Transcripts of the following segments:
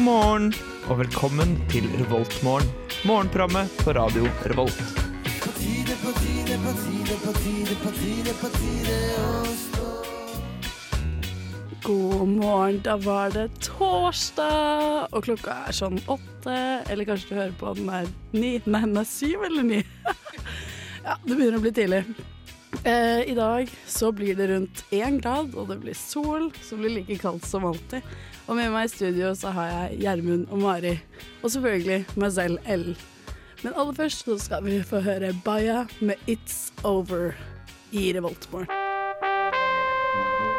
morgen og velkommen til Revoltmorgen. Morgenprogrammet på radio Revolt. God morgen, da var det torsdag, og klokka er sånn åtte, eller kanskje du hører på den er ni, nei den er syv eller ni. ja, det begynner å bli tidlig. Eh, I dag så blir det rundt én grad, og det blir sol, som blir like kaldt som alltid. Og med meg i studio så har jeg Gjermund og Mari, og selvfølgelig meg selv, Ellen. Men aller først så skal vi få høre Baya med It's Over i Revoltmorgen.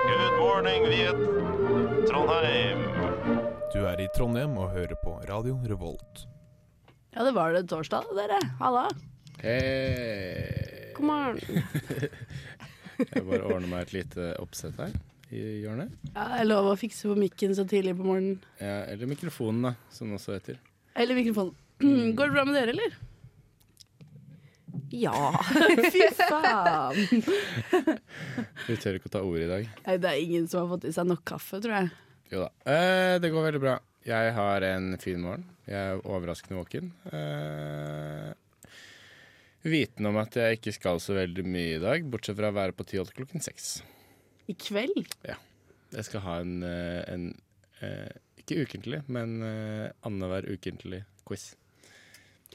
Good morning, Viet. Trondheim. Du er i Trondheim og hører på Radio Revolt. Ja, det var det torsdag, dere. Halla. Hei. God morgen. Jeg bare ordner meg et lite oppsett her i hjørnet. Ja, jeg lover å fikse på mikken så tidlig på morgenen. Ja, eller mikrofonen, da, som den også heter. Eller mikrofonen. Går det bra med dere, eller? Ja. Fy faen! Vi tør ikke å ta ordet i dag. Nei, det er ingen som har fått i seg nok kaffe, tror jeg. Jo da. Eh, det går veldig bra. Jeg har en fin morgen. Jeg er overraskende våken. Eh, vitende om at jeg ikke skal så veldig mye i dag, bortsett fra å være på Tyholt klokken seks. I kveld? Jeg skal ha en, eh, en eh, ikke ukentlig, men eh, annenhver ukentlig quiz.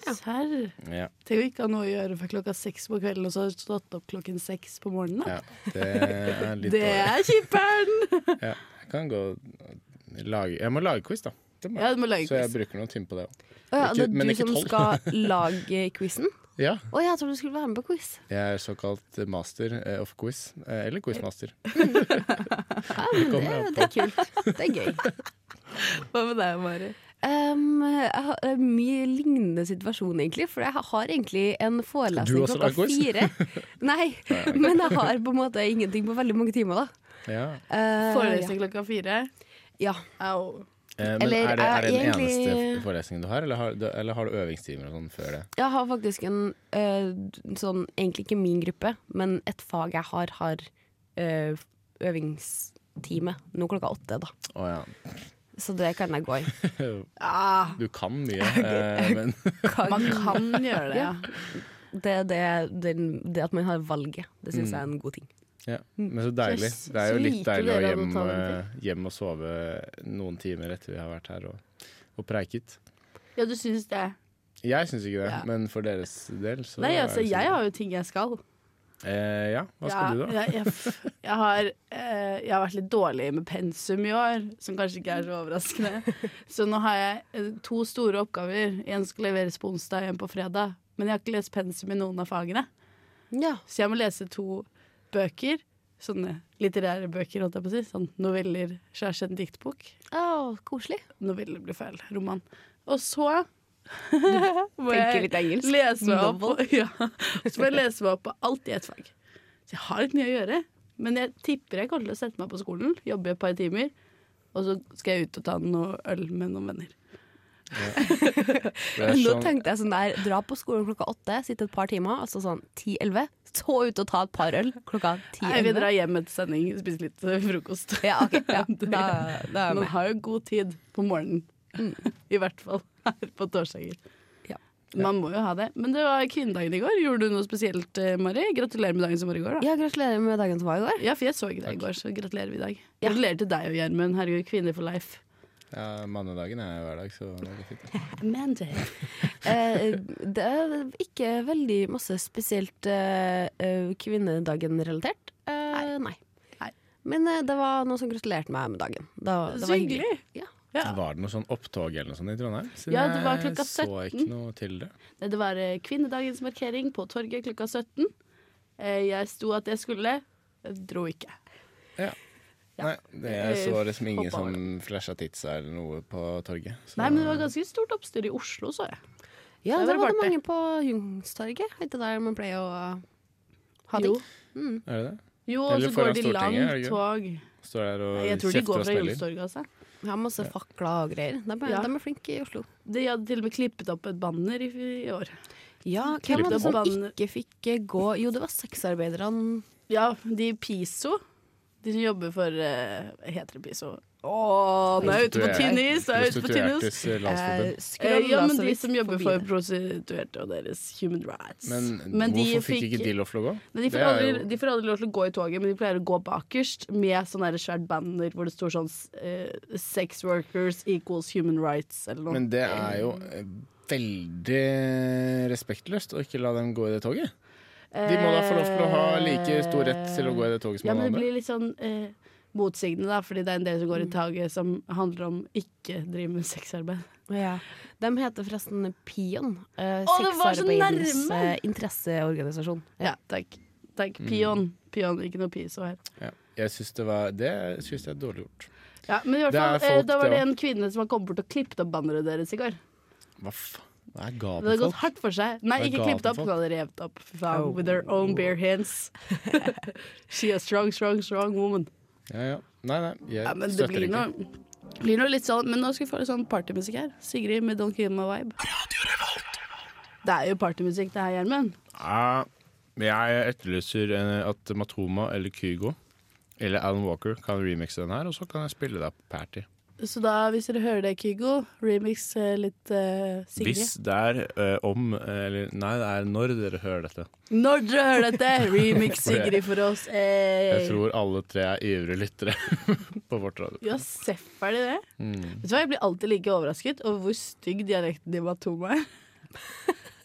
Serr. Ja, Tenk å ikke ha noe å gjøre fra klokka seks på kvelden, og så har du stått opp klokken seks på morgenen. da. ja. Det er litt det dårlig. er kjipperen! Ja, jeg kan gå og lage Jeg må lage quiz, da. Det må jeg. Ja, du må lage Så jeg quiz. bruker noen timer på det òg. Å ja, det Ikke- er men du ikke som tolv. skal lage quizen? Ja, Å, jeg trodde du skulle være med på quiz. jeg er såkalt master eh, of quiz. eh, Eller quizmaster. Ja, men det, kommer jeg det er kult. Det er gøy. Hva med deg, Mari? Um, jeg har en mye lignende situasjon, egentlig. For jeg har egentlig en Du forelesning også klokka lager quiz? fire. Nei, men jeg har på en måte ingenting på veldig mange timer, da. Ja. Eh, Forelesning klokka fire? Ja. Au. Eh, men Eller er det, er det den er egentlig- eneste forelesningen du har, eller har, eller har du øvingstimer og sånn før det? Jeg har faktisk en eh, sånn Egentlig ikke min gruppe, men et fag jeg har, har eh, øvingstime nå klokka åtte, da. Å ja. Så det kan jeg gå i. Ja, Du kan mye, eh, men Ah, man kan gjøre det, ja. det, det, den- det at man har valget, det Mm. syns jeg er en god ting. ja. Men så deilig. Så- Det er så jo litt lite deilig å dere hadde hjem, tatt den eh, hjem og sove noen timer etter vi har vært her og, og preiket. Ja, du syns det? Jeg syns ikke det, Ja. men for deres del så Nei, er altså, det jeg sånn. har jo ting jeg skal. eh, Ja, hva skal ja, du da? Jeg, jeg, f- jeg, har, eh, jeg har vært litt dårlig med pensum i år, som kanskje ikke er så overraskende. Så nå har jeg eh, to store oppgaver. En skal leveres på onsdag, en på fredag. Men jeg har ikke lest pensum i noen av fagene. Ja. Så jeg må lese to bøker. Sånne litterære bøker, holdt jeg på å si. Sånn noveller slash en diktbok. Å, koselig. Noveller blir feil. Roman. Og så må Tenker jeg litt engelsk. lese meg opp Novel. på, ja, Så må jeg lese meg opp på alt i ett fag. Så jeg har litt mye å gjøre. Men jeg tipper jeg kommer til å sette meg på skolen, jobbe i et par timer, og så skal jeg ut og ta noe øl med noen venner. Det er Nå sånn- tenkte jeg sånn der, dra på skolen klokka åtte, sitte et par timer, altså sånn 10-11. Så ut og ta et par øl klokka Jeg vil 10-11. dra hjem etter sending, spise litt eh, frokost. Ja, ok. Ja, Det- da, da er jeg Man med. Mm. har jo god tid på morgenen. I hvert fall her på torsdager. Ja. Man må jo ha det. Men det var kvinnedagen i går. Gjorde du noe spesielt, eh, Mari? Gratulerer med dagen som var i går, da. Ja, gratulerer med dagen som var i går. Ja, for jeg så ikke deg i går, så gratulerer vi i dag. Ja. Gratulerer til deg og Gjermund. Herregud, kvinner for life. Ja, Mannedagen er jo hver dag, så det går fint. Mandy. Eh, det er ikke veldig masse spesielt eh, eh, kvinnedagen-relatert. Eh, nei. Nei. Men eh, det var noen som gratulerte meg med dagen. Da, det Så var hyggelig. Ja. Ja. Var det noe sånn opptog eller noe sånt i Trondheim? Siden Ja, det var klokka Jeg så 17. ikke noe til det. Nei, Det var eh, kvinnedagens markering på torget klokka 17. Eh, Jeg sto at jeg skulle, jeg dro ikke. Nei, det, jeg Eh, så liksom ingen hoppa over som flasha titsa eller noe på torget. Så Nei, men det var ganske stort oppstyr i Oslo, så jeg. Ja, Der var det det var det party. mange på Jungstorget. Er ikke der man pleier å ha ting? Jo, Er det det? jo og Eller så foran går de Stortinget, er det langt ikke? tog. Står der og Nei, jeg tror de kjefter går og fra smeller. Jølstorget, altså. Vi har masse fakler og greier. De er, Ja. de er flinke i Oslo. De hadde til og med klippet opp et banner i, i år. Ja, hvem var det som opp. ikke fikk eh, gå Jo, det var sexarbeiderne. Ja, de i PISO, de som jobber for eh, Heter det PISO? Å, nå er jeg ute på tynn is! nå er jeg ute på tynn is. Prostituertes landsforbund. Eh, Skrolla ja, men så de vidt som jobber altså forbi for det. prostituerte og deres human rights. Men, de hvorfor fikk ikke de lov til å gå? Nei, de, Det får er aldri, jo- de får aldri lov til å gå i toget, men de pleier å gå bakerst med sånn der svært banner hvor det står sånn eh, 'Sex workers equals human rights' eller noe. Men det er jo eh, veldig respektløst å ikke la dem gå i det toget. De må da få lov til å ha like stor rett til å gå i det toget som Eh, ja, men alle det andre. Mm. blir litt sånn eh, motsigende, da, fordi det er en del som går i toget som handler om ikke drive med sexarbeid. Ja. De heter forresten Pion. Eh, Å, det var så Sexarbeidens nærme! eh, interesseorganisasjon. Ja, takk. Takk. Mm. Pion. Pion, ikke noe piso her. Ja. Jeg syns det var Det syns jeg er dårlig gjort. Ja, men i hvert Det er fall, eh, folk, da var det det også. en kvinne som har kommet bort og klippet opp banneret deres i går. Hva faen? Hva er Det hadde gaven gått folk? hardt for seg. Nei, Det er ikke klippet opp, gavefolk. hun hadde revet opp. Fy faen, Oh. With her own bare hands. She a strong, strong, strong woman. Ja, ja. Nei, nei, jeg Ja, men det støtter blir ikke. noe, blir noe litt sånn Men nå skal vi få litt sånn partymusikk her. Sigrid med Don't Give Me A Vibe. Det er jo partymusikk, det her, Gjermund. Ja, men jeg etterlyser eh, at Matoma eller Kygo eller Alan Walker kan remixe den her, og så kan jeg spille deg på party. Så da, hvis dere hører det, Kygo, remix eh, litt eh, Sigrid. Hvis det er eh, om Eller nei, det er når dere hører dette. Når dere hører dette, remix Sigrid for oss. Eh, Jeg Hey. tror alle tre er ivrige lyttere på vårt radio. Ja, seff er de det. Mm. Vet du hva, Jeg blir alltid like overrasket over hvor stygg dialekten i Matoma er.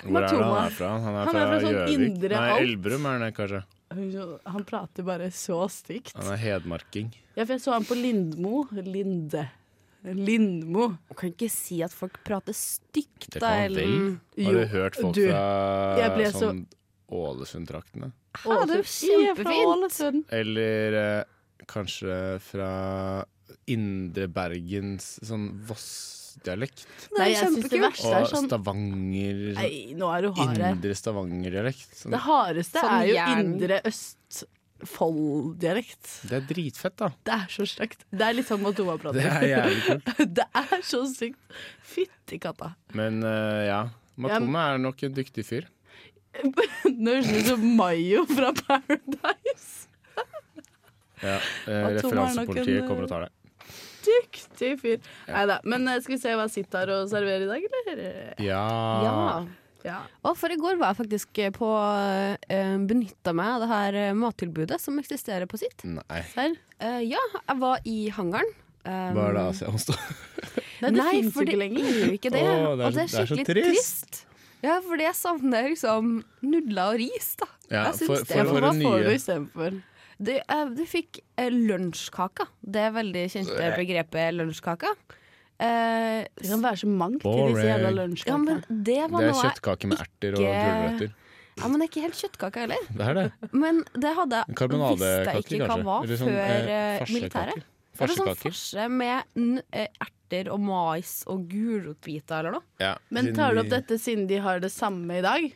Hvor er det han Matoma. er fra? Han er Han fra, er fra sånn Gjøvik. indre Nei, alt. Elverum er det kanskje. Han prater bare så stygt. Han er hedmarking. Ja, for jeg så han på Lindmo. Linde. Lindmo. Man kan ikke si at folk prater stygt, Det da, kan han Ellen. vel. Har Jo, du hørt folk du, jeg fra ble så- sånn Ålesund-traktene? Ja, det er jo kjempefint. Eller eh, kanskje fra indre Bergens sånn Voss-dialekt. Det Nei, er jeg syns det kjempekult. verste er Og sånn Stavanger Nei, nå er du hard her. Indre Stavanger-dialekt. Sånn. Det hardeste Sånn er jo jern. indre Østfold-dialekt. Det er dritfett, da. Det er så stygt. Det er litt sånn Matoma Det er prater. jævlig kult. Det er så stygt. Fytti katta. Men eh, ja. Matome er nok en dyktig fyr. Nå høres det ut som Mayo fra Paradise. Ja, eh, Matoma er nok en, referansepolitiet eh, kommer og tar deg. Dyktig fyr. Nei da. Men eh, skal vi se hva Sitt har å servere i dag, eller? Ja. Ja. eh, Ja. Og for i går var jeg faktisk på uh, Benytta meg av det her eh, mattilbudet som eksisterer på sitt. Nei. Serr? Eh, ja, jeg var i hangaren. Um, Hva er det Asia hos da? Nei, det Nei, fins for jo det ikke lenger. er jo ikke det. Åh, det er og det er så- det er så skikkelig trist. trist. Ja, for jeg savner liksom nudler og ris, da. Ja, jeg syns for- det. for- Men Hva våre nye- får du istedenfor? Du, eh, du fikk eh, lunsjkaka. Det er veldig kjente begrepet lunsjkaka. Eh, Det kan være så mangt i disse jævla Boring. ja, men lunsjkakene. Det det var er noe jeg kjøttkake med erter og ikke- gulrøtter. Ja, men det er ikke helt kjøttkake heller. Det er det. Men det hadde jeg visste jeg Karbonadekaker, ikke hva kanskje. var Eller sånn, før eh, farsekaker. militæret. Det var sånn Farsekaker. farse med n eh, erter og mais og gulrotbiter eller noe. Ja, Men siden tar du opp vi- dette siden de har det samme i dag?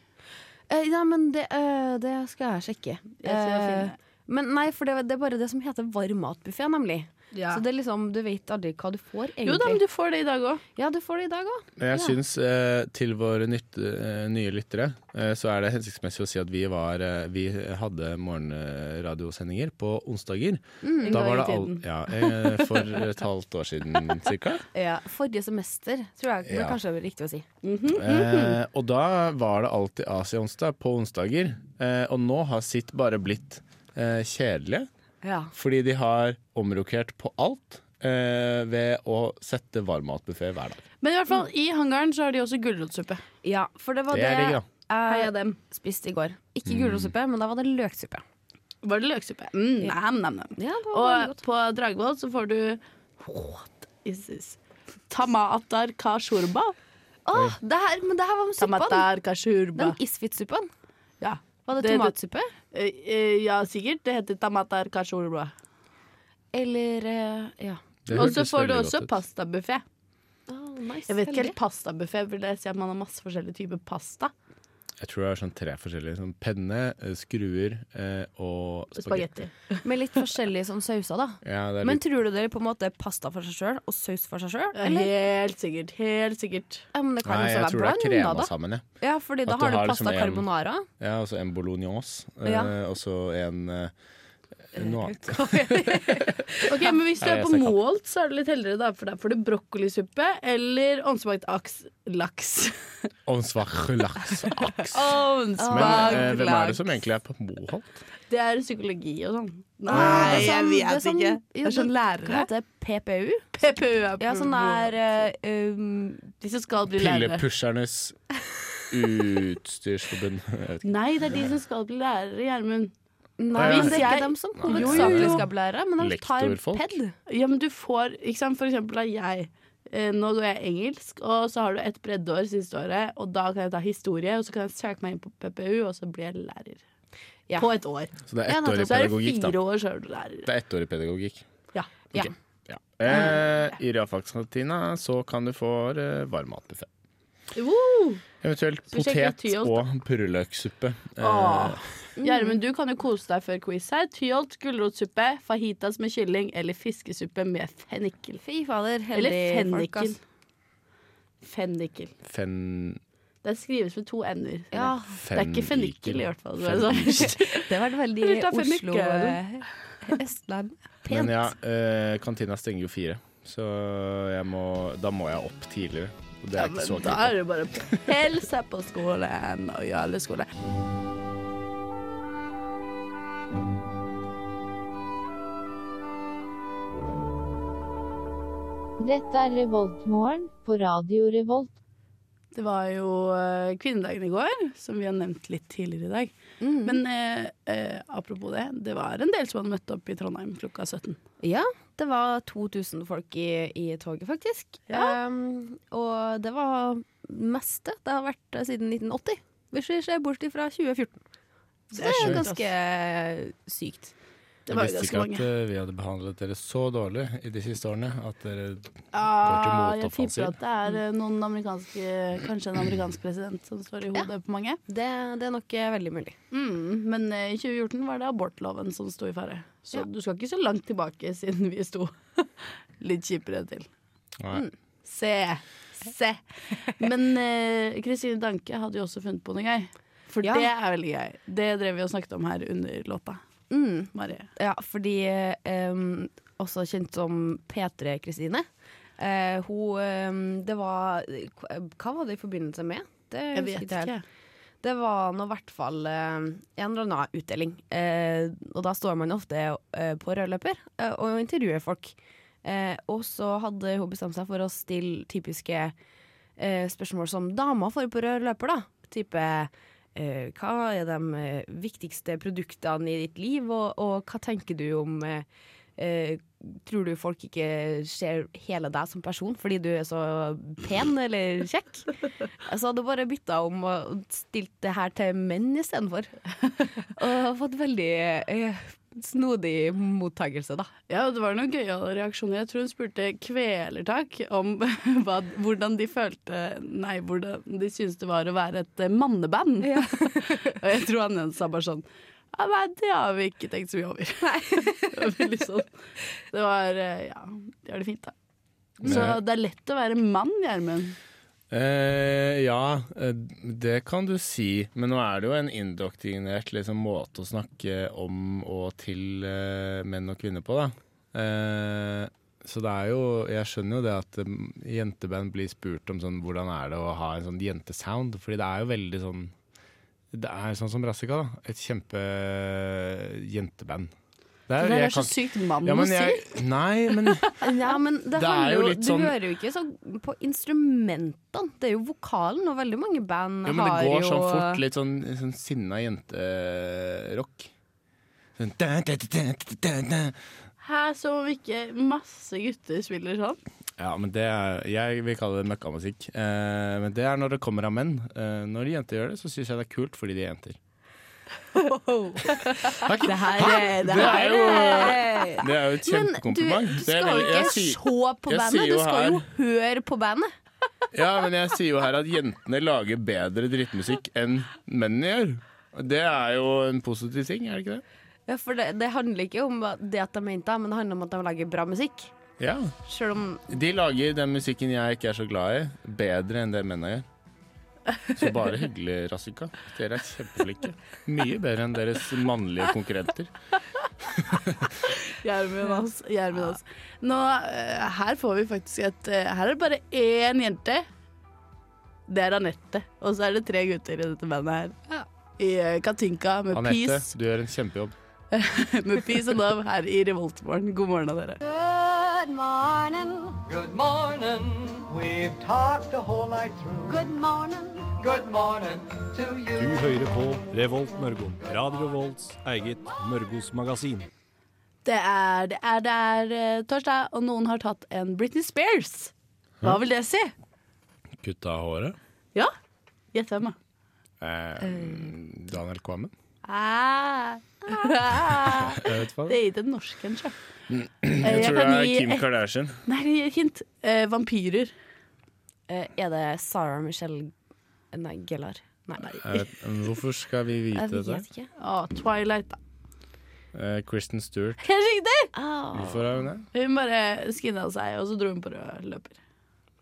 Eh, ja, men det, eh, det skal jeg sjekke. Jeg skal Eh, finne. men nei, for det, det er bare det som heter varmmatbuffé, nemlig. Eh, Ja. Så det er liksom, du vet aldri hva du får, egentlig. Jo da, men du får det i dag òg. Ja, du får det i dag òg. Men jeg Ja. syns eh, til våre nytt, eh, nye lyttere eh, så er det hensiktsmessig å si at vi, var, eh, vi hadde morgenradiosendinger på onsdager. Mm. En Da gang var i det all, tiden. ja, eh, for et halvt år siden cirka. Ja, forrige semester, tror jeg Ja. ja. kanskje er riktig å si. Mhm. Eh, og da var det alltid Asia onsdag på onsdager. Eh, og nå har sitt bare blitt eh, kjedelige. Ja. Fordi de har omrokert på alt eh, ved å sette varmmatbuffé hver dag. Men i hvert fall, i hangaren så har de også gulrotsuppe. for det var Det det, er digg, da. Mm. Heia jeg dem. spiste i går. Ikke gulrotsuppe, men da var det løksuppe. Var det løksuppe? Mm, nam, nam, nam. Ja, det var Og veldig godt. på Dragvoll så får du What is this? Tamatar kashurba. Åh, det her, men det her var med suppa. Tamatar kashurba. Den isfit-suppen. Ja. Var Det- det, det- tomatsuppe? Eh, eh, ja, sikkert. Det heter tamatar kashurba. Eller eh, ja. Det Og så hørtes får du veldig også godt ut. pastabuffé. Oh, nice, Jeg vet ikke heldig. helt pastabuffé, for det sier at man har masse forskjellige typer pasta. Jeg tror det er sånn tre forskjellige. Sånn penne, eh, skruer eh, og spagetti. Spagetti. Med litt forskjellige sånn sauser, da. Ja, det er Men litt, tror du det er på en måte pasta for seg sjøl og saus for seg sjøl? Ja, Helt sikkert. Helt sikkert. Ja, men det kan nei, også jeg være tror det er blanda, krema da. sammen, jeg. Ja, fordi da At du har du har pasta liksom en- carbonara. Ja, og så en bolognese, eh, Ja. og så en eh, Noe annet. Ok, men Hvis du Nei, er jeg på ser katt. Målt, så er det litt heldigere. Da, for der får du brokkolisuppe eller ovnsbakt aks- laks. Ovnsvart laks. Aks. Men eh, Ovnsbakt hvem er det laks. som egentlig er på Moholt? Det er psykologi og sånn. Ah, Nei, det er jeg sånn- vet det er sånn- ikke. jo, Det er sånn Hva lærere. heter det? PPU? PPU er Ja, sånn der eh, um, De som skal bli lærere. Pillepushernes utstyrsforbund. Jeg vet ikke. Nei, det er de som skal bli lærere, Gjermund. Nei, Nei, men det er jeg- ikke dem som Jo, jo, hovedsakelig jo. skal bli lærere, men de tar Lektorfolk. ped. Ja, men du får ikke sant? For eksempel er jeg eh, Nå går jeg engelsk, og så har du et breddeår siste året, og da kan jeg ta historie, og så kan jeg søke meg inn på PPU, og så blir jeg lærer. Ja. På et år. Så det er Ja, nettopp. ettårig Så er det pedagogikk, da. fire år, så er du lærer. Det er ettårig pedagogikk. Ja. Ja. Ja. Ah, Eh, I realfagskantina så kan du få eh, varmmatbuffé. Woo! Eventuelt Skal vi sjekke potet Tyholt? og purreløksuppe. Åh. Eh, Gjermund, du kan jo kose deg før quiz her. Tyholt, gulrotsuppe, fajitas med kylling eller fiskesuppe med fennikel. Fy fader, Eller heldige folk, fennikel. ass. Fennikel. fen... Det skrives med to n-er. Ja, Det er ikke fennikel i hvert fall. Det er sånn. det var veldig Eller ta fennikel. Oslo eh, Østland. sånn Men Pent. ja, eh, kantina stenger jo fire, så jeg må, da må jeg opp tidligere. Og det er Ja, ikke så men da kult. er det bare å pelle seg på skolen og gjøre skole. Dette er Revoltmorgen på Radio Revolt. Det var jo eh, kvinnedagen i går, som vi har nevnt litt tidligere i dag. Mm. Men eh, eh, apropos det, det var en del som hadde møtt opp i Trondheim klokka 17. Ja, det var 2000 folk i, i toget, faktisk. Ja. Um, og det var meste det har vært eh, siden 1980, hvis vi ser bort ifra 2014. Så det er sjukt, ass. ganske sykt. Det var jo ganske mange. eh, vi hadde behandlet dere så dårlig i de siste årene at dere Ja, Ah, jeg motoffensiv. tipper at det er eh, noen amerikanske, kanskje en amerikansk president som står i hodet på mange. Det, det er nok eh, veldig mulig. Mm, men eh, i 2014 var det abortloven som sto i fare. Så Ja. du skal ikke så langt tilbake siden vi sto litt kjipere til. Mm. Nei. Se. Se. Men eh, Kristine Danke hadde jo også funnet på noe gøy. For Ja. det er veldig gøy. Det drev vi og snakket om her under låta. Mm. Marie. Ja, fordi ehm, også kjent som P3 Kristine. eh, hun ehm, Det var Hva var det i forbindelse med? Det Jeg husker vet helt. ikke. Det var nå i hvert fall eh, en eller annen utdeling. Eh, og da står man ofte eh, på rød løper eh, og intervjuer folk. Eh, og så hadde hun bestemt seg for å stille typiske eh, spørsmål som damer får på rød løper, da. Type eh, hva er de eh, viktigste produktene i ditt liv, og, og hva tenker du om eh, eh, Tror du folk ikke ser hele deg som person fordi du er så pen eller kjekk? Så hadde bare bytta om og stilt det her til menn istedenfor. Og har fått veldig eh, snodig mottagelse, da. Ja, det var noen gøyale reaksjoner. Jeg tror hun spurte Kvelertak om hva, hvordan de følte Nei, hvordan de syntes det var å være et eh, manneband. og jeg tror han ene sa bare sånn ja, nei, det har vi ikke tenkt så mye over. det var veldig sånn. Det var eh, Ja, de har det fint, da. Så Men- det er lett å være mann, Gjermund. Eh, ja, eh, det kan du si. Men nå er det jo en indoktrinert liksom, måte å snakke om og til eh, menn og kvinner på, da. Eh, så det er jo Jeg skjønner jo det at eh, jenteband blir spurt om sånn hvordan er det å ha en sånn jentesound, fordi det er jo veldig sånn Det er sånn som Rassika, da. Et kjempe eh, jenteband. Det Det er, der jeg er så kan- sykt mann ja, å men si. jeg, Nei, men Ja, men det, Det er handler jo jo litt Du sånn- hører jo ikke så på instrumentene. Det er jo vokalen, og veldig mange band Jo, men det har går jo sånn fort, litt sånn, sånn sinna jenterock. Sånn da, da, da, da, da, da, da. Her som om ikke masse gutter spiller sånn. Ja, men det er Jeg vil kalle det møkkamusikk. Eh, men det er når det kommer av menn. Eh, når jenter gjør det, så syns jeg det er kult fordi de er jenter. Takk. Det her er- Det er jo er- Det er jo et Men du, kjempekompliment. du Det er skal jo veldig- jeg ikke sier- se på jeg sier bandet, jo du skal her- jo høre på bandet. Ja, men jeg sier jo her at jentene lager bedre drittmusikk enn mennene gjør. Det er jo en positiv ting, er det ikke det? Ja, for det, det handler ikke om det at de er jenter, men det handler om at de lager bra musikk. Ja. Selv om De lager den musikken jeg ikke er så glad i, bedre enn det mennene gjør. Så bare hyggelig, Rassika. Dere er kjempeflinke. Mye bedre enn deres mannlige konkurrenter. Gjermund, ass. Gjermund, ass. Nå, eh, her får vi faktisk et eh, Her er det bare én jente. Det er Anette. Og så er det tre gutter i dette bandet her. I eh, Katinka med Anette, peace, du gjør en kjempejobb. med peace and love her i Revoltmorgen. God morgen, dere. Good morning. Good morning. We've talked the whole night through. Good morning. Good morning to you. Du hører på Revolt Mørgo. Radio Revolts eget Mørgos magasin. Det er, det er, det er eh, torsdag, og noen har tatt en Britney Spears. Hva vil det si? Kutta håret. Ja? Gjett hvem, da. Eh, Daniel Kvammen. Ah. Ah. Jeg vet hva Mm. Det er ikke den norske, kanskje. Jeg tror det Eh, kan er gi Kim et- Kardashian. Nei, gi et hint. Eh, vampyrer. Eh, er det Sarah Michelle Nei, Gellar. Nei, Jeg vet, men hvorfor skal vi vite jeg vet dette? ikke. Å, Twilight, da. Eh, Kristen Stewart. Helt riktig! Ah, Hvorfor er hun det? Hun bare skinna seg, og så dro hun på rød løper.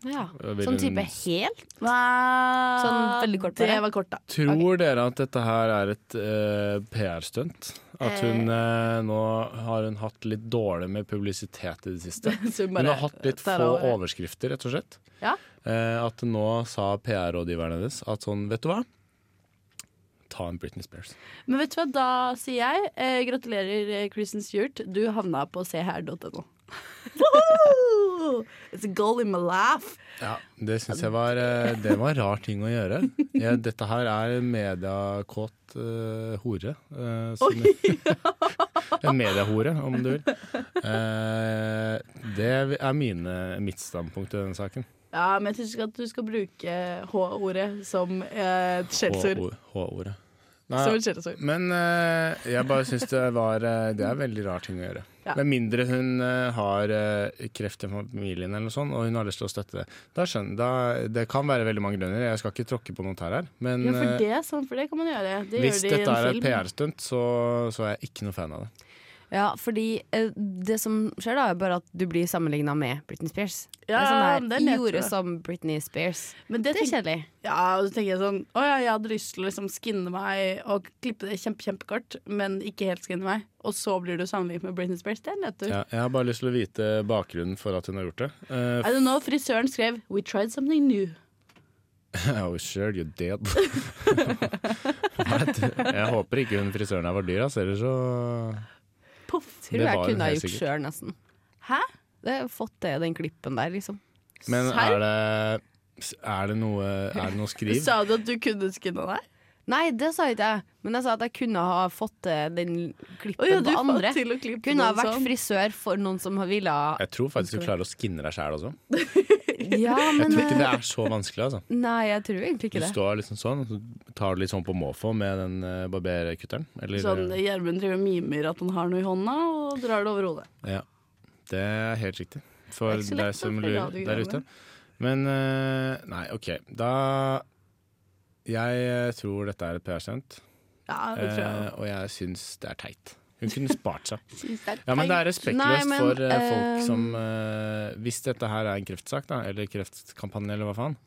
ja. Vil Sånn hun- type hel? Sånn veldig kort Det bare. var kort, da. Tror dere at dette her er et eh, PR-stunt? At hun eh, nå har hun hatt litt dårlig med publisitet i det siste? Så hun Hun bare har hatt litt tar få over. overskrifter, rett og slett. Ja. Eh, at nå sa PR-rådgiveren hennes at sånn, vet du hva? Ta en Britney Spears. Men vet du hva, da sier jeg eh, gratulerer, eh, Kristen Stewart. Du havna på seher.no. Woohoo! It's a goal in my laugh. Ja, Det syns jeg var eh, Det var en rar ting å gjøre. Ja, dette her er en mediakåt eh, hore. eh, som- en mediehore, om du vil. Eh, det er mine, mitt standpunkt i denne saken. Ja, men jeg syns ikke at du skal bruke H-ordet som eh, et skjellsord. H- H-ordet. Som Nei, et skjellsord. men eh, jeg bare syns det var eh, Det er en veldig rar ting å gjøre. Ja. Med mindre hun eh, har eh, kreft i familien eller noe sånt, og hun har lyst til å støtte det. Da skjønner, da, det kan være veldig mange grunner. Jeg skal ikke tråkke på noen tær her. Men Ja, for eh, det, er sånn, for det kan man gjøre. Det gjør Hvis de i dette en er et film. PR-stunt, så, så er jeg ikke noe fan av det. Ja, fordi eh, det som skjer da, er bare at du blir sammenligna med Britney Spears. Ja, det er det sånn der, er lett, tror gjorde jeg. som Britney Spears. Men Det er tenker- kjedelig. Ja, og så tenker jeg sånn Å ja, jeg hadde lyst til å liksom skinne meg og klippe det kjempe, kjempekort, men ikke helt skinne meg. Og så blir du sammenlignet med Britney Spears. Det er nettopp. Ja, jeg har bare lyst til å vite bakgrunnen for at hun har gjort det. Eh, I don't know, frisøren skrev 'We tried something new'. oh, sure, you're dead. Hva er det? jeg håper ikke hun frisøren her var dyr, ass. Ellers så Poff. Tror Det jeg var hun kunne ha helt gjort sikkert. sjøl, nesten. Hæ? Det har fått det, den klippen der, liksom. Men Serr? er det, er det, noe, er det noe skriv? Sa du at du kunne skinne deg? Nei, det sa ikke jeg, men jeg sa at jeg kunne ha fått eh, den klippen Å ja, du på andre. fant til å klippe Kunne ha noen vært sånn. frisør for noen som ville ha Jeg tror faktisk du klarer å skinne deg sjæl også. Ja, Jeg men tror ikke det eh, er så vanskelig, altså. Nei, jeg tror Du egentlig ikke det. står liksom sånn, og så tar du litt sånn på måfå med den eh, barberkutteren. Eller eh, Sånn Gjermund driver og mimer at han har noe i hånda, og drar det over hodet. Ja, det er helt riktig. For Det er ikke så lett, deg da, som for lurer der radiogreiene. ute. Men eh, nei, OK. Da Jeg eh, tror dette er et PR-stunt, Ja, det tror jeg. eh, og jeg syns det er teit. Hun kunne spart seg. Syns det er Ja, men det er Nei, respektløst men, for eh, folk eh, som eh, Hvis dette her er en kreftsak, da, eller kreftkampanje, eller hva faen,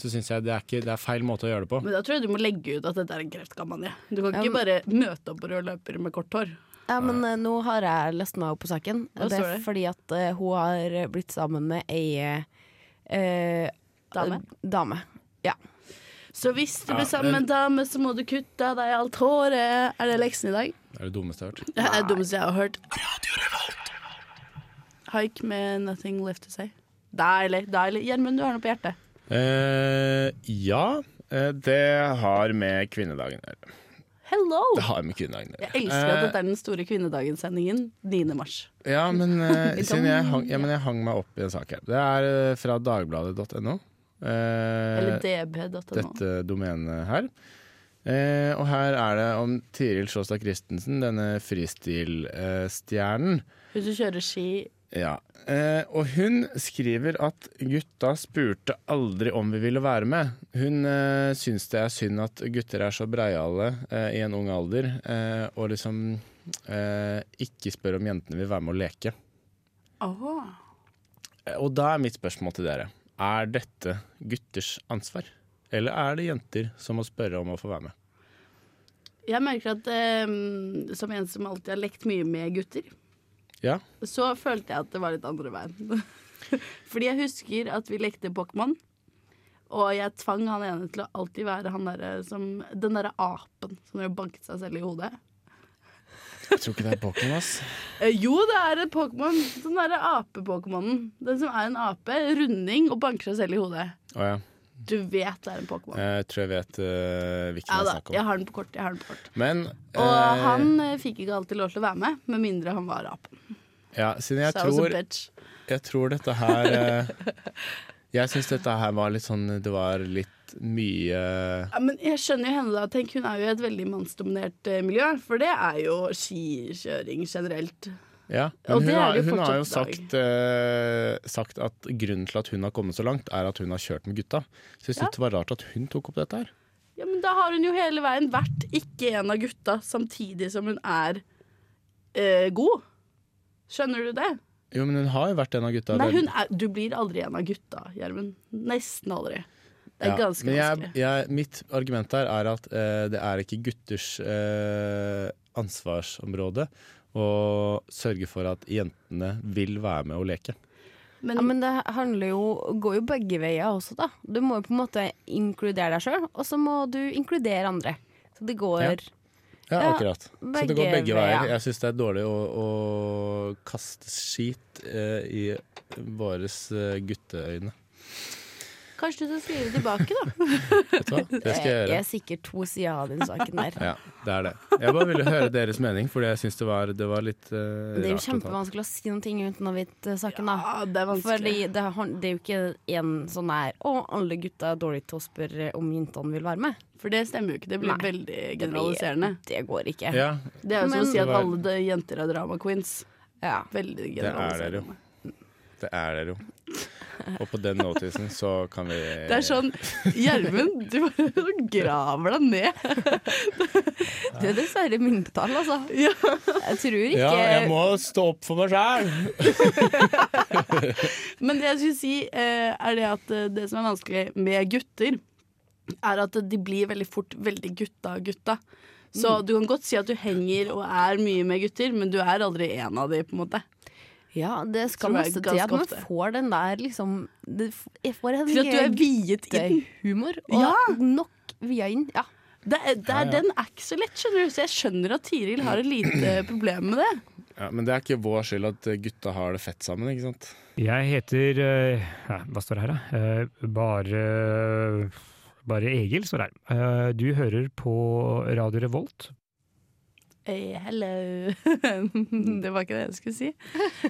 så syns jeg det er, ikke, det er feil måte å gjøre det på. Men da tror jeg du må legge ut at dette er en kreftkampanje. Du kan Ja, ikke men- bare møte opp på rød løper med kort hår. Ja, men eh, nå har jeg lest meg opp på saken. Hva det står er det? fordi at eh, hun har blitt sammen med ei eh, Dame? dame. Ja. Så hvis du blir Ja, sammen med men- en dame, så må du kutte av deg alt håret. Er det leksen i dag? Det er det dummeste jeg har hørt. Det er det dummeste jeg har hørt. Haik med 'Nothing Left To Say'. Deilig. deilig Gjermund, du har noe på hjertet. Eh, ja, eh, det har med kvinnedagen å gjøre. Hello! Det har med kvinnedagen å gjøre. Jeg elsker at Eh, dette er den store kvinnedagen-sendingen 9. mars. Ja, men, eh, Litt siden jeg, om- hang, ja, men jeg hang meg opp i en sak her. Det er eh, fra dagbladet.no. Eller Eh, db.no. dette domenet her. Eh, og her er det om Tiril Sjåstad Christensen, denne fristilstjernen. Eh, stjernen. Hvis du kjører ski ja. Eh, og hun skriver at gutta spurte aldri om vi ville være med. Hun eh, syns det er synd at gutter er så breiale eh, i en ung alder, eh, og liksom eh, ikke spør om jentene vil være med å leke. Eh, Åh. Og da er mitt spørsmål til dere. Er dette gutters ansvar? Eller er det jenter som må spørre om å få være med? Jeg merker at eh, som en som alltid har lekt mye med gutter, Ja. så følte jeg at det var litt andre veien. Fordi jeg husker at vi lekte Pokémon, og jeg tvang han ene til å alltid være han derre som Den derre apen som drev og banket seg selv i hodet. Jeg tror ikke det er Pokémon, ass. Eh, jo, det er en Pokémon. Den derre ape-Pokémonen. Den som er en ape, runding og banker seg selv i hodet. Å ja. Du vet det er en Pokémon. Jeg tror jeg vet eh, hvilken Ja jeg da, snakker jeg om. har den på kort. Jeg har den på kort. Men Og eh, han eh, fikk ikke alltid lov til å være med, med mindre han var apen. ja, Siden Så jeg jeg var tror så bitch. Jeg tror dette her eh, Jeg syns dette her var litt sånn Det var litt mye Ja, men jeg skjønner jo henne da. Tenk, Hun er jo i et veldig mannsdominert eh, miljø, for det er jo skikjøring generelt. Ja. Og Men det hun, er har, det jo hun har jo fortsatt i sagt, eh, sagt at grunnen til at hun har kommet så langt, er at hun har kjørt med gutta. Så jeg syns Ja. det var rart at hun tok opp dette her. Ja, Men da har hun jo hele veien vært ikke en av gutta, samtidig som hun er eh, god. Skjønner du det? Jo, men hun har jo vært en av gutta. Nei, vel- hun er, du blir aldri en av gutta, Gjermund. Nesten aldri. Det er Ja, ganske men jeg, vanskelig. jeg, mitt argument der er at eh, det er ikke gutters eh, ansvarsområde å sørge for at jentene vil være med og leke. Men, Ja, men det handler jo, går jo begge veier også, da. Du må jo på en måte inkludere deg sjøl, og så må du inkludere andre. Så det går Ja. Ja, Ja, akkurat. Så det går begge begge veier. veier. Jeg syns det er dårlig å, å kaste skit eh, i våres eh, gutteøyne. kanskje du skal skrive tilbake, da. Vet du hva? Det skal jeg Det gjøre. er sikkert to sider av den saken der. Ja, det er det. Jeg bare ville høre deres mening, fordi jeg syns det, var- det var litt eh, Det rart er jo å ta. kjempevanskelig å si noen ting uten å vite saken, da. Ja, det er vanskelig. Fordi det, han- det er jo ikke en sånn her Å, alle gutta er dårlige til å spørre om jentene vil være med. For det stemmer jo ikke. Det blir Nei, veldig generaliserende. Det, det går ikke. Ja, Det er jo som å Men- si Det at var- alle de jenter er drama queens. Ja. Veldig det er generaliserende. dere jo. Det er dere jo. Og på den notisen så kan vi Det er sånn Gjermund, du bare graver deg ned. Du er dessverre mindretall, altså. Ja. Jeg tror ikke Ja, jeg må stå opp for meg sjæl! Men det jeg skulle si, eh, er det at eh, det som er vanskelig med gutter, er at de blir veldig fort veldig gutta-gutta. Så du kan godt si at du henger og er mye med gutter, men du er aldri en av de, på en måte. Ja, det skal Tror jeg masse til at ganske man ofte. får den der liksom det, f- Jeg får en Til at du er viet i den. humor og Ja. nok via inn. Ja. Det er, det er, Den er ikke så lett, skjønner du. Så jeg skjønner at Tiril har et lite problem med det. Ja, men det er ikke vår skyld at gutta har det fett sammen, ikke sant? Jeg heter eh, ja, Hva står det her, da? Eh, Bare, bare Egil står det her. Eh, Du hører på Radio Revolt. Hey, Eh, hello. det var ikke det jeg skulle si.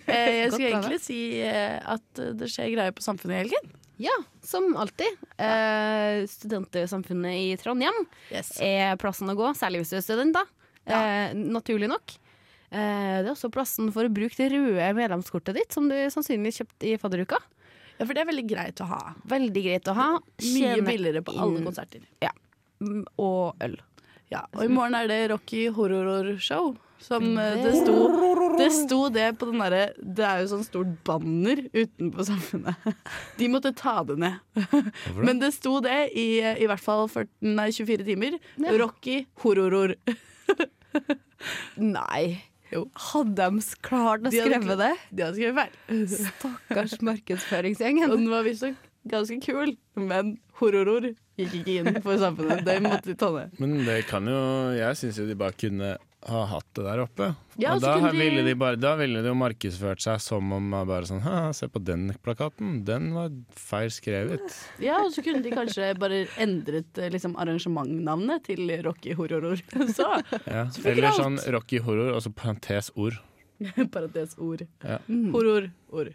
Eh, Jeg Godt skulle prøve. egentlig si eh, at det skjer greier på samfunnet i helgen. ja, som alltid. Eh, studentsamfunnet i Trondheim Yes. er plassen å gå, særlig hvis du er student, da. Eh, naturlig nok. Eh, det er også plassen for å bruke det røde medlemskortet ditt, som du sannsynligvis kjøpte i fadderuka. Ja, for det er veldig greit å ha. Veldig greit å ha. Mye Tjene billigere på alle inn- konserter. Mm, Og øl. Ja, og i morgen er det Rocky Horror Show. Som eh, det sto, det sto det på den derre Det er jo sånn stort banner utenpå samfunnet. De måtte ta det ned. Men det sto det i i hvert fall 40, nei, 24 timer. Ja. Rocky Horror. Nei. Jo. Hadde de klart å De hadde skrive det? De hadde skrevet feil. Stakkars Og markedsføringsgjengen. den var visstnok ganske kul, men hororor gikk ikke inn for samfunnet. Det måtte de ta ned. Men det kan jo Jeg syns jo de bare kunne ha hatt det der oppe. Ja, så og da, kunne de- ville de bare, da ville de jo markedsført seg som om man bare sånn «Haha, Se på den plakaten, den var feil skrevet. Ja, Og så kunne de kanskje bare endret eh, liksom, arrangementnavnet til Rocky Hororor. Så Ja. Så fikk de Eller alt. sånn Rocky Horror, og så parentes ord. parentes ord. Mm. Ja. Horor. Ord.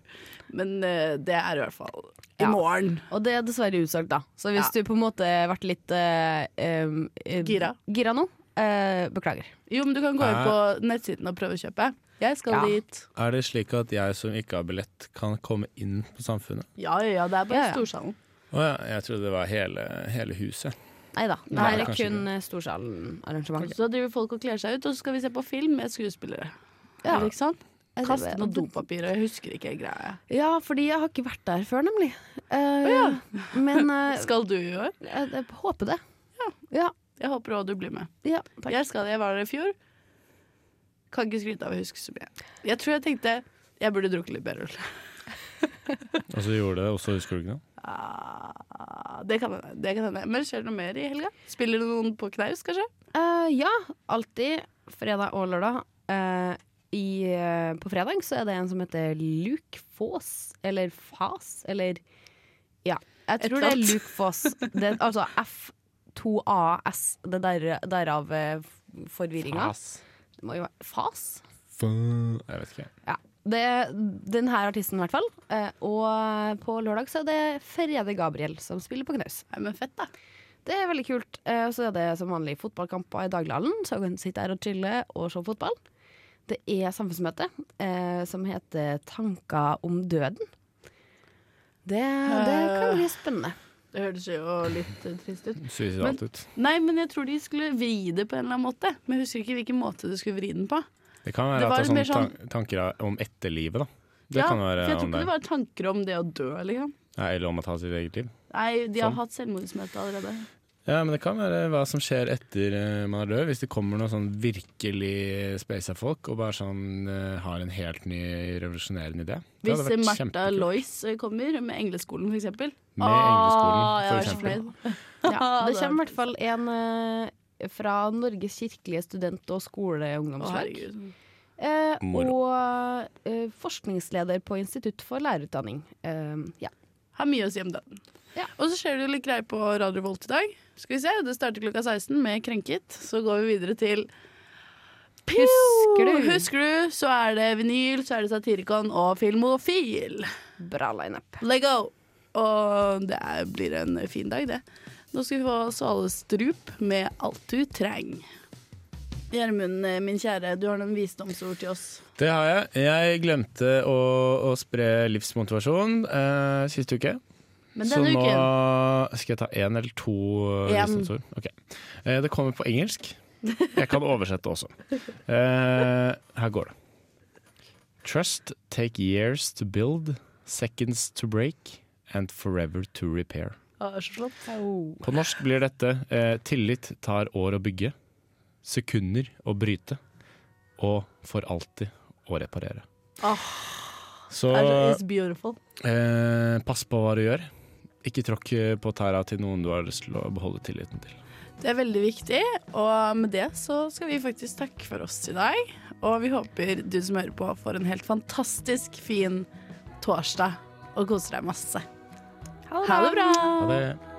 Men eh, det er i hvert fall i Ja. morgen. Og det er dessverre utsolgt, da. Så hvis Ja. du på en måte har vært litt eh, em, eh, Gira. gira nå, eh, beklager. Jo, men du kan gå inn på nettsiden og prøve å kjøpe. Jeg skal Ja. dit. Er det slik at jeg som ikke har billett, kan komme inn på Samfunnet? Ja, ja, ja, det er bare Ja, ja. Storsalen. Å ja, jeg trodde det var hele, hele huset. Nei da. Det Nei, her er kanskje kun eh, Storsalen-arrangement. Så driver folk og kler seg ut, og så skal vi se på film med skuespillere. Ja. Ikke sant? Jeg Kaste tror- noe dopapir, og jeg husker ikke helt greia. Ja, fordi jeg har ikke vært der før, nemlig. Eh, Men eh, Skal du i år? jeg, jeg håper det. Ja. Jeg håper òg du blir med. Ja, takk. Jeg skal det. Jeg var der i fjor. Kan ikke skryte av å huske så mye. Jeg tror jeg tenkte jeg burde drukket litt bedre øl. Og så gjorde det, og så husker du ikke noe? Ah, det kan hende. det kan hende. Men skjer det noe mer i helga? Spiller du noen på knaus, kanskje? Eh, ja, alltid fredag og lørdag. Eh, i, eh, på fredag så er det en som heter Luke Foss, eller Fas, eller Ja. Jeg Et tror eller det er annet. Luke Foss. Det, er altså F2AS. Det der, derav eh, forvirringa. Ass. Det må jo være Fas? Faen. Jeg vet ikke. Ja. Det, den her artisten, i hvert fall. Eh, og på lørdag så er det Ferede Gabriel som spiller på knaus. Nei, men fett, da. Det er veldig kult. Eh, Og så er det som vanlig fotballkamper i Daglighallen, så jeg kan sitte her og chille og se fotball. Det er samfunnsmøte eh, som heter Tanker om døden. Det, det kan bli spennende. Det høres jo litt eh, trist ut. Suicidalt ut. Nei, men jeg tror de skulle vri det på en eller annen måte. Men jeg husker ikke hvilken måte du skulle vri den på. Det kan Det være var at det er litt sånn, mer tan tanker om etterlivet, da. Det ja, kan være for jeg tror om ikke det. det var tanker om det å dø, liksom. Nei, eller om å ta sitt eget liv. Nei, de har Sånn. hatt selvmordsmøte allerede. Ja, men det kan være hva som skjer etter eh, man er død. Hvis det kommer noen sånn virkelig spaisa folk og bare sånn eh, har en helt ny revolusjonerende idé. Det Hvis hadde vært Martha kjempekult. Loice kommer med Engleskolen, for eksempel. Med Ah, Engleskolen, for jeg er så eksempel. fornøyd. Ja, det Ah, Det er kommer i hvert fall en eh, fra Norges kirkelige student- og Å, skoleungdomslag. herregud. Eh, Moro. og eh, forskningsleder på Institutt for lærerutdanning. Eh, ja. Har mye å si om den. Ja. Og så skjer det litt greier på Radio Volt i dag. Skal vi se, Det starter klokka 16 med Krenket. Så går vi videre til Pio! Husker du? Husker du, så er det vinyl, så er det Satirikon og Filmofil. Bra lineup. Lego! Og det er, blir en fin dag, det. Nå skal vi få svalestrup med alt du treng. Gjermund, eh, min kjære, du har noen visdomsord til oss. Det har jeg. Jeg glemte å, å spre livsmotivasjon eh, siste uke. Men Så denne nå uken skal jeg ta én eller to eh, En. visdomsord. Ok. Eh, det kommer på engelsk. Jeg kan oversette også. Eh, her går det. Trust take years to build, seconds to break, and forever to repair. Å, Ah, så flott. På norsk blir dette eh, tillit tar år å bygge, sekunder å bryte, og for alltid å reparere. Så Det er så- It's beautiful. eh, pass på hva du gjør. Ikke tråkk eh, på tæra til noen du har lyst til å beholde tilliten til. Det er veldig viktig, og med det så skal vi faktisk takke for oss i dag. Og vi håper du som hører på får en helt fantastisk fin torsdag og koser deg masse. Ha det bra! Ha det.